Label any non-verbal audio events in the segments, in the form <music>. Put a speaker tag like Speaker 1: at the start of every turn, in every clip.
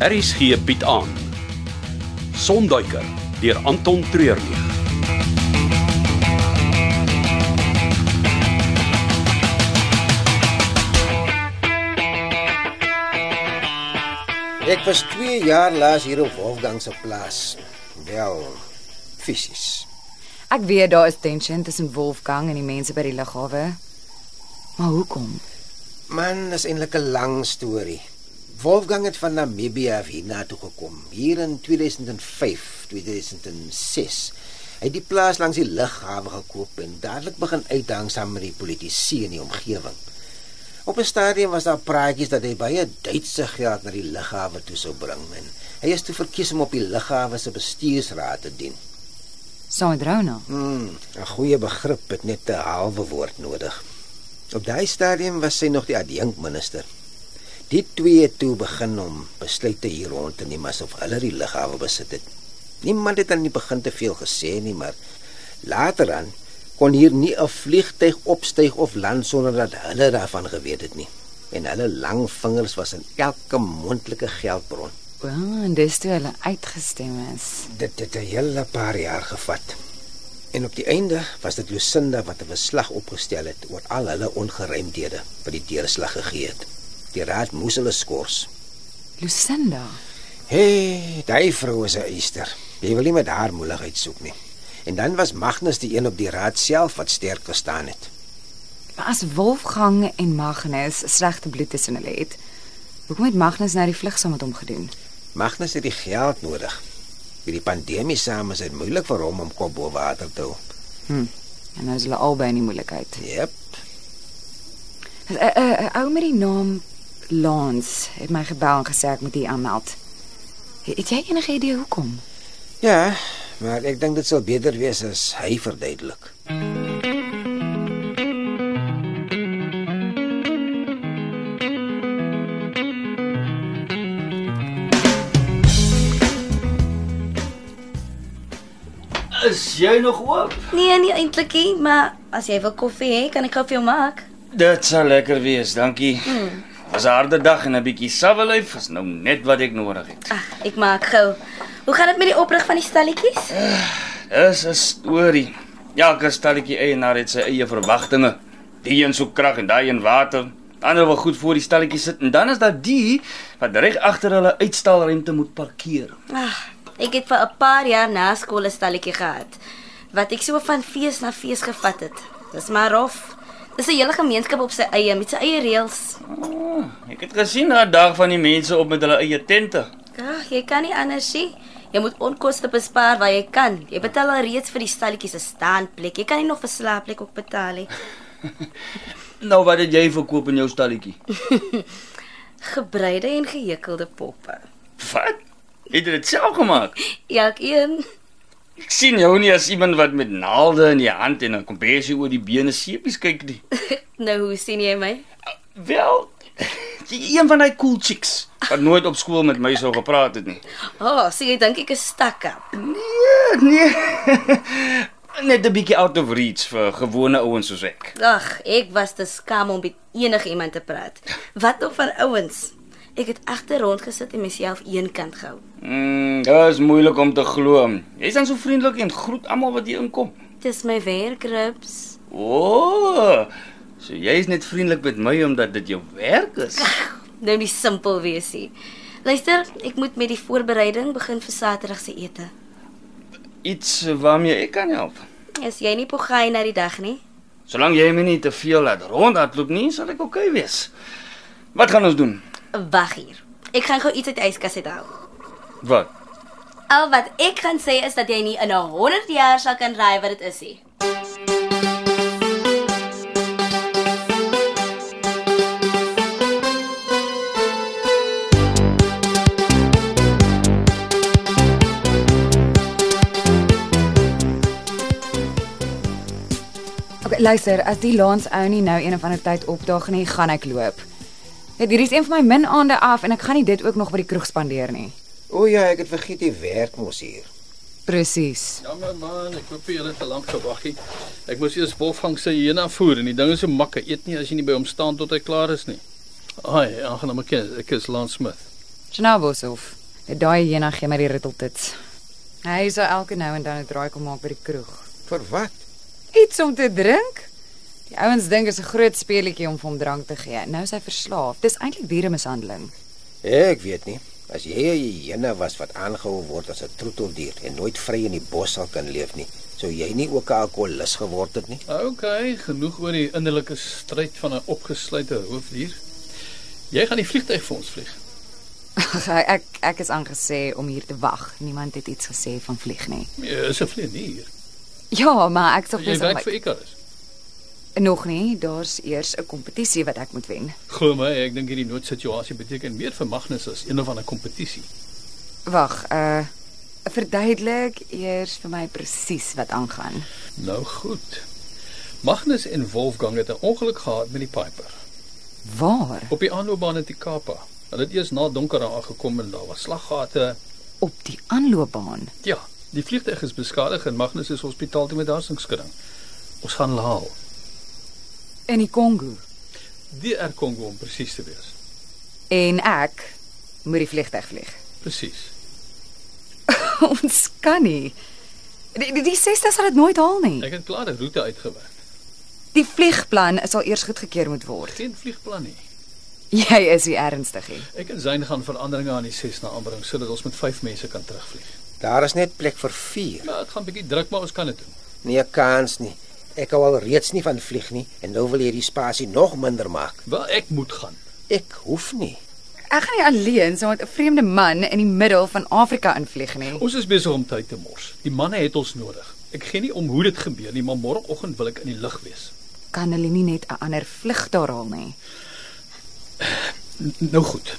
Speaker 1: RSG bied aan Sonduiker deur Anton Treurnig.
Speaker 2: Ek was 2 jaar laas hier op Wolfgang se plaas. Wel, fisies.
Speaker 3: Ek weet daar is tension tussen Wolfgang en die mense by die lughawe. Maar hoekom?
Speaker 2: Man, dis eintlik 'n lang storie. Wolfgang het van Namibië af hiernatoe gekom, hier in 2005, 2006. Hy het die plaas langs die lughawe gekoop en dadelik begin uithang saam met die politici in die omgewing. Op 'n stadium was daar praatjies dat hy baie Duitse geld na die lughawe toe sou bring en hy is toe verkies om op die lughawe se bestuursraad te dien.
Speaker 3: Saai Drona.
Speaker 2: Hmm, 'n goeie begrip het net 'n halwe woord nodig. Op daai stadium was sy nog die adjunkminister. Die twee het toe begin om besluite hier rond te neem asof hulle die lughawe besit het. Niemand het aan die begin te veel gesê nie, maar later aan kon hier nie 'n vliegtyg opstyg of land sonder dat hulle daarvan geweet het nie. En hulle lang vingers was in elke moontlike geldbron.
Speaker 3: O, en dis toe hulle uitgestem is.
Speaker 2: Dit het 'n hele paar jaar gevat. En op die einde was dit Lucinda wat 'n beslag opgestel het oor al hulle ongeruimdhede wat die deurslag gegee het. Die raad moes hulle skors.
Speaker 3: Lucinda.
Speaker 2: Hey, daai vrou is 'n eister. Jy wil nie met haar moeilikheid soek nie. En dan was Magnus die een op die raad self wat sterk gestaan het.
Speaker 3: Maar as Wolfgang en Magnus slegte bloed tussen hulle het, hoekom het Magnus nou die vlug saam met hom gedoen?
Speaker 2: Magnus het die geld nodig. Met die pandemie saam is dit moeilik vir hom om kop bo water te hou.
Speaker 3: Hm. En nou is hulle albei in die moeilikheid.
Speaker 2: Jep.
Speaker 3: 'n 'n- 'n Ou eh, met die naam Lance het my gebel en gesê ek moet hier aanmeld. Het jy enige idee hoekom?
Speaker 2: Ja, maar ek dink dit sal beter wees as hy verduidelik.
Speaker 4: Is jy nog oop?
Speaker 5: Nee, nie eintlik nie, maar as jy wil koffie hê, kan ek gou vir jou maak.
Speaker 4: Dit sal lekker wees, dankie. Mm. Was 'n harde dag en 'n bietjie sabbelyf is nou net wat ek nodig het.
Speaker 5: Ag, Ah, ek maak gou. Hoe gaan dit met die oprig van die stalletjies?
Speaker 4: Dis 'n storie. Elke stalletjie eienaar het sy eie verwagtinge. Die een soek krag en daai een water. Ander wil goed voor die stalletjie sit en dan is daar die wat reg agter hulle uitstalruimte moet parkeer.
Speaker 5: Ag, Ah, ek het vir 'n paar jaar na skool 'n stalletjie gehad wat ek so van fees na fees gevat het. Dis maar rof. Dis 'n hele gemeenskap op sy eie met sy eie reëls.
Speaker 4: Oh, ek het gesien daai dag van die mense op met hulle eie tente.
Speaker 5: Ag, Ah, jy kan nie anders nie. Jy moet onkoste bespaar waar jy kan. Jy betaal al reeds vir die stalletjies se staanplek. Jy kan nie nog vir slaapplek ook betaal nie.
Speaker 4: Nou wat het jy verkoop in jou stalletjie?
Speaker 5: Gebreide en gehekelde poppe.
Speaker 4: Wat? Het jy dit self gemaak?
Speaker 5: Elkeen
Speaker 4: Ek sien jou nie as iemand wat met naalde in die hand en 'n kombersie oor die bene seepies kyk nie.
Speaker 5: <laughs> Nou, hoe sien jy my?
Speaker 4: Wel, jy een van daai cool chicks wat nooit op skool met my sou gepraat het nie.
Speaker 5: O, oh, so jy dink ek is stakkap.
Speaker 4: Nee, nee. <laughs> Net 'n bietjie out of reach vir gewone ouens soos ek.
Speaker 5: Ag, ek was te skam om met enige iemand te praat. Wat of van ouens? Ek het agter rond gesit en myself eenkant gehou.
Speaker 4: Mm, dit is moeilik om te glo. Jy's dan so vriendelik en groet almal wat hier inkom.
Speaker 5: Dis my werk, Rips.
Speaker 4: O, oh, so jy's net vriendelik met my omdat dit jou werk is.
Speaker 5: Nou nie simpel wees nie. Luister, ek moet met die voorbereiding begin vir Saterdag se ete.
Speaker 4: Iets waarmee ek kan help.
Speaker 5: Is jy nie pogaai na die dag nie?
Speaker 4: Solank jy my nie te veel laat rondhardloop nie, sal ek oukei okay wees. Wat gaan ons doen?
Speaker 5: Wag hier. Ek gaan gou iets uit die yskas uithaal.
Speaker 4: Wat?
Speaker 5: Al wat ek gaan sê is dat jy nie in 'n 100 jaar sal kan raai wat dit is nie.
Speaker 3: Okay, luister, as die Lance ou nie nou een of ander tyd opdaag nie, gaan ek loop. Dit hierdie is een van my min aande af en ek gaan nie dit ook nog by die kroeg spandeer nie.
Speaker 2: O ja, ek het vergeet jy werk mos hier.
Speaker 3: Presies.
Speaker 6: Jammer Ja, man, ek hoop jy het te lank gewag nie. Ek moes eers Wolfgang se hierna voer en die ding is so makke. Eet nie as jy nie by hom staan tot hy klaar is nie. Ai, aangename kennis. Ek is Lance Smith.
Speaker 3: Snabelshof. Daai jena gee my die ritteltits. Hy sou elke nou en dan 'n draai kom maak by die kroeg.
Speaker 2: Vir wat?
Speaker 3: Iets om te drink? Die ouens dink is 'n groot speletjie om vir hom drank te gee. Nou is hy verslaaf. Dis eintlik <laughs> dieremishandeling.
Speaker 2: Ek weet nie. As jy 'n hyena was wat aangehou word as 'n troeteldier en nooit vry in die bos sal kan leef nie, sou jy nie ook 'n alkoholus geword het nie.
Speaker 6: OK, genoeg oor die innerlike stryd van 'n opgesluite hoofdier. Jy gaan die vliegtyg vir ons vlieg.
Speaker 3: ek ek is aangesê om hier te wag. Niemand het iets gesê van vlieg nie.
Speaker 6: Jy Nee, is 'n vlieënier.
Speaker 3: Ja, maar ek sal
Speaker 6: Jy
Speaker 3: dis aan
Speaker 6: werk
Speaker 3: my
Speaker 6: vir Icarus.
Speaker 3: nog nie. Daar's eers 'n kompetisie wat ek moet wen.
Speaker 6: Glo my, ek dink hierdie noodsituasie beteken meer vir Magnus as een of ander kompetisie.
Speaker 3: Wag, uh verduidelik eers vir my presies wat aangaan.
Speaker 6: Nou goed. Magnus en Wolfgang het 'n ongeluk gehad met die Piper
Speaker 3: Waar?
Speaker 6: op die aanloopbaan in Tikapa. Hulle het eers na donker aangekom en daar was slaggate.
Speaker 3: Op die aanloopbaan.
Speaker 6: Ja, die vliegtuig is beskadig en Magnus is hospitaal toe met hersenskuding. Ons gaan hulle haal.
Speaker 3: In die Kongo.
Speaker 6: Die Air Congo om presies te wees.
Speaker 3: En ek moet die vliegtuig vlieg. <laughs>
Speaker 6: Presies.
Speaker 3: Ons kan nie. Die die, die sesde sal dit nooit haal nie.
Speaker 6: Ek het klaar 'n roete uitgewerk.
Speaker 3: Die vliegplan sal eers goedgekeur moet word. <laughs>
Speaker 6: Geen vliegplan nie.
Speaker 3: Jy is hier ernstig hier.
Speaker 6: Ek en Zayn gaan veranderinge aan die Cessna aanbring sodat ons met 5 mense kan terugvlieg.
Speaker 2: Daar is net plek vir 4.
Speaker 6: Ja, dit gaan bietjie druk, maar ons kan dit doen.
Speaker 2: Nee, kans nie. Ek hou al reeds nie van vlieg nie en nou wil jy die spasie nog minder maak.
Speaker 6: Wel, ek moet gaan.
Speaker 2: Ek hoef nie.
Speaker 3: Ek gaan nie alleen saam met 'n vreemde man in die middel van Afrika invlieg nie.
Speaker 6: Ons is besig om tyd te mors. Die manne het ons nodig. Ek gee nie om hoe dit gebeur nie, maar môreoggend wil ek in die lug wees.
Speaker 3: Kan hulle nie net 'n ander vlug daar haal nie?
Speaker 6: N nou goed.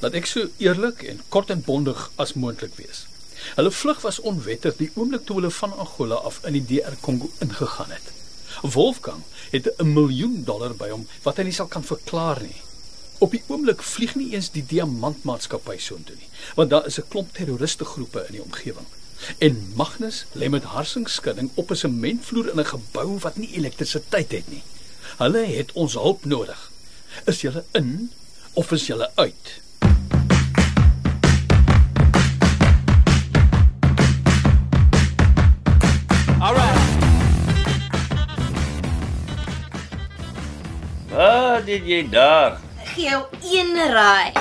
Speaker 6: Laat ek so eerlik en kort en bondig as moontlik wees. Hulle vlug was onwettig die oomblik toe hulle van Angola af in die DR Kongo ingegaan het. Wolfgang het 'n miljoen dollar by hom wat hy nie sal kan verklaar nie. Op die oomblik vlieg nie eens die diamantmaatskappy soontoe nie, want daar is 'n klomp terroriste groepe in die omgewing. En Magnus lê met harsingskudding op 'n sementvloer in 'n gebou wat nie elektrisiteit het nie. Hulle het ons hulp nodig. Is julle in of is julle uit?
Speaker 4: Wat het jy daar?
Speaker 5: Gee jou een raai.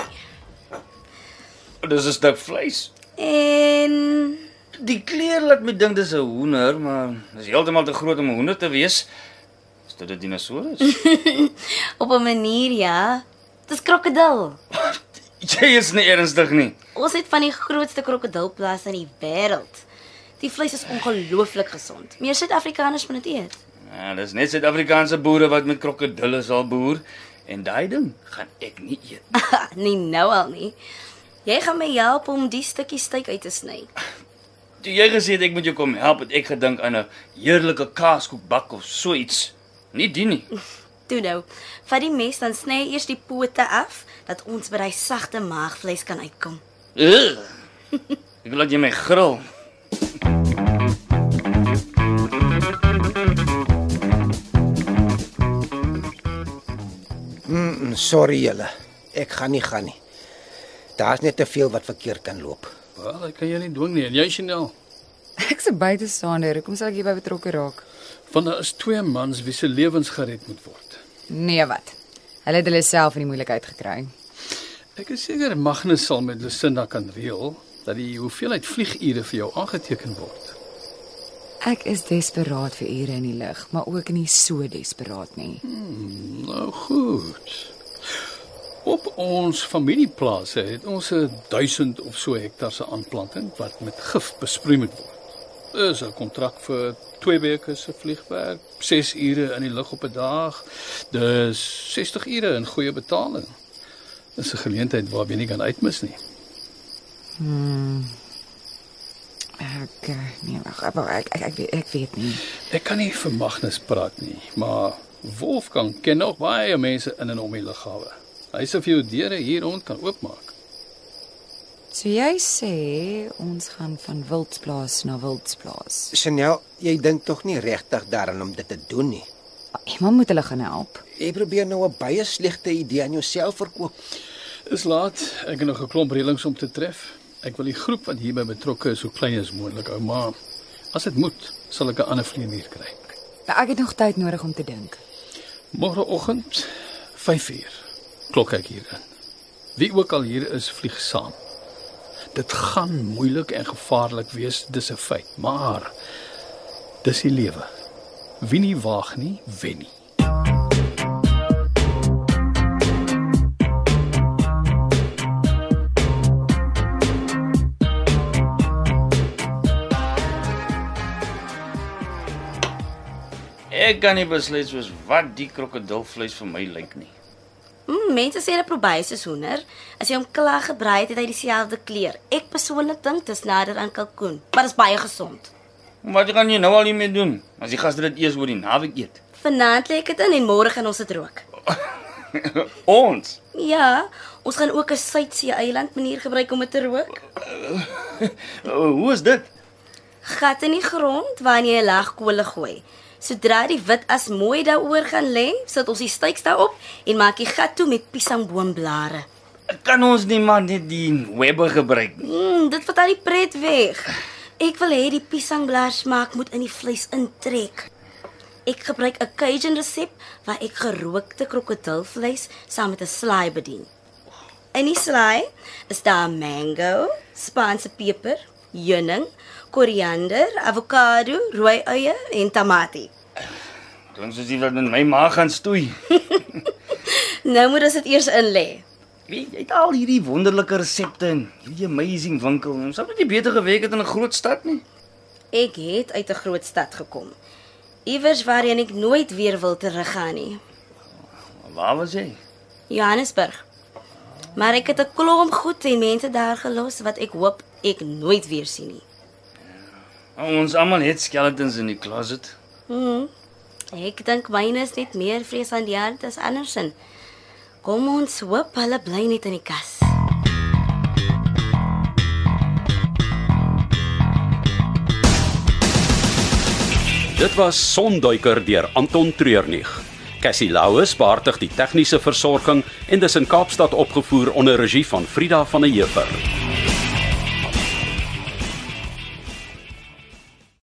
Speaker 4: Dis 'n stuk vleis.
Speaker 5: En
Speaker 4: Die kleur laat my dink dis 'n hoender, maar dis heeltemal te groot om 'n hoender te wees. Is dit 'n <laughs> dinosourus?
Speaker 5: op 'n manier ja, dis krokodil.
Speaker 4: jy is nie ernstig nie.
Speaker 5: Ons het van die grootste krokodilplase in die wêreld. Die vleis is ongelooflik gesond. Meer Suid-Afrikaners moet dit eet. <laughs>
Speaker 4: Ja, dis net Suid-Afrikaanse boere wat met krokodille sal boer en daai ding gaan ek nie eet. nie.
Speaker 5: nie nou al nie. Jy gaan my help om die stukkie steak uit te sny.
Speaker 4: Toe jy gesê het ek moet jou kom help, het ek gedink aan 'n heerlike kaaskoekbak of so iets. Nie die nie.
Speaker 5: Toe nou, vat die mes dan sny jy eers die pote af dat ons by daai sagte maagvleis kan uitkom.
Speaker 4: Ugh. Ek laat jy my gril.
Speaker 2: Mm, sorry julle. Ek gaan nie gaan nie. Daar's net te veel wat verkeerd kan loop.
Speaker 6: Wel, ek kan jou nie dwing nie en jy Chanel.
Speaker 3: Ek's 'n buitestander. Hoekom sal ek hierby betrokke raak?
Speaker 6: Want daar is twee mans wie se lewens gered moet word.
Speaker 3: Nee, wat? Hulle het hulle self in die moeilikheid gekry.
Speaker 6: Ek is seker Magnus sal met Lucinda kan reël dat die hoeveelheid vliegure vir jou aangeteken word.
Speaker 3: Ek is desperaat vir ure in die lug, maar ook nie so desperaat nie.
Speaker 6: Nou goed. Op ons familieplase het ons 'n 1000 of so hektar se aanplanting wat met gif besproei moet word. Dis 'n kontrak vir 2 weke se vliegwerk, 6 ure in die lug op 'n dag. Dis 60 ure in goeie betaling. Dis 'n geleentheid waarop jy nie kan uitmis nie.
Speaker 3: Ek eh, nee, wag, wag, ek ek ek weet, ek weet nie.
Speaker 6: Ek kan nie vir Magnus praat nie, maar Wolfgang ken nog baie mense in en om die lughawe. Hy sê vir jou deure hier rond kan oopmaak.
Speaker 3: So jy sê ons gaan van wildsplaas na wildsplaas.
Speaker 2: Chanel, jy dink tog nie regtig daaraan om dit te doen nie.
Speaker 3: Emma moet hulle gaan help.
Speaker 2: Jy probeer nou 'n baie slegte idee aan jouself verkoop.
Speaker 6: Dis laat. Ek het nog 'n klomp reëlings om te tref. Ek wil die groep wat hierby betrokke is so klein as moontlik hou, maar as dit moet, sal ek 'n ander vleienier kry.
Speaker 3: Ek het nog tyd nodig om te dink.
Speaker 6: Môreoggend 5uur klok ek hier in. Wie ook al hier is, vlieg saam. Dit gaan moeilik en gevaarlik wees, dis 'n feit, maar dis die lewe. Wie nie waag nie, wen nie.
Speaker 4: Ek kan nie besluit soos wat die krokodilvleis vir my lyk nie.
Speaker 5: Mm, mense sê dat probees is hoender. As jy hom klaar gebraai het, het hy dieselfde kleur. Ek persoonlik dink dis nader aan kalkoen, maar dit is baie gesond.
Speaker 4: Wat gaan jy nou al hiermee doen? As die gaste dit eers oor die naweek eet. <laughs>
Speaker 5: Vanaand lê ek dit in en môre gaan ons dit rook.
Speaker 4: Ons.
Speaker 5: Ja, ons gaan ook 'n suidsee eiland manier gebruik om dit te rook.
Speaker 4: O, Uh, hoe is dit?
Speaker 5: Gat in die grond waarin jy 'n lag kolle gooi. Sodra die wit as mooi daaroor gaan lê, sit ons die styks daarop en maak die gat toe met piesangboomblare.
Speaker 4: Kan ons nie maar net die webbe gebruik nie?
Speaker 5: Mm, dit vat al die pret weg. Ek wil hê die piesangblaar smaak moet in die vleis intrek. Ek gebruik 'n Cajun resep waar ek gerookte krokodilvleis saam met 'n slaai bedien. In die slaai is daar mango, Spaanse peper, heuning, koriander, avokado, rooi eie en tamatie.
Speaker 4: Klink soos iets wat met my maag gaan stoei.
Speaker 5: Nou moet ons dit eers in lê.
Speaker 4: Jy jy het al hierdie wonderlike resepte en hierdie amazing winkel. Ons sou dit nie beter geweek het in 'n groot stad nie.
Speaker 5: Ek het uit 'n groot stad gekom. Iewers waarheen ek nooit weer wil teruggaan nie.
Speaker 4: Waar was jy?
Speaker 5: Johannesburg. Maar ek het 'n klomp goed en mense daar gelos wat ek hoop ek nooit weer sien nie.
Speaker 4: Ons almal het skeletons in die closet.
Speaker 5: Hmm. Ek dink myne is net meer vrees aan die hand as andersin. Kom ons hoop hulle bly net in die kas.
Speaker 1: Dit was Sonduiker deur Anton Treurnig. Cassie Louws beheerdig die tegniese versorging en dis in Kaapstad opgevoer onder regie van Frida van der Heever.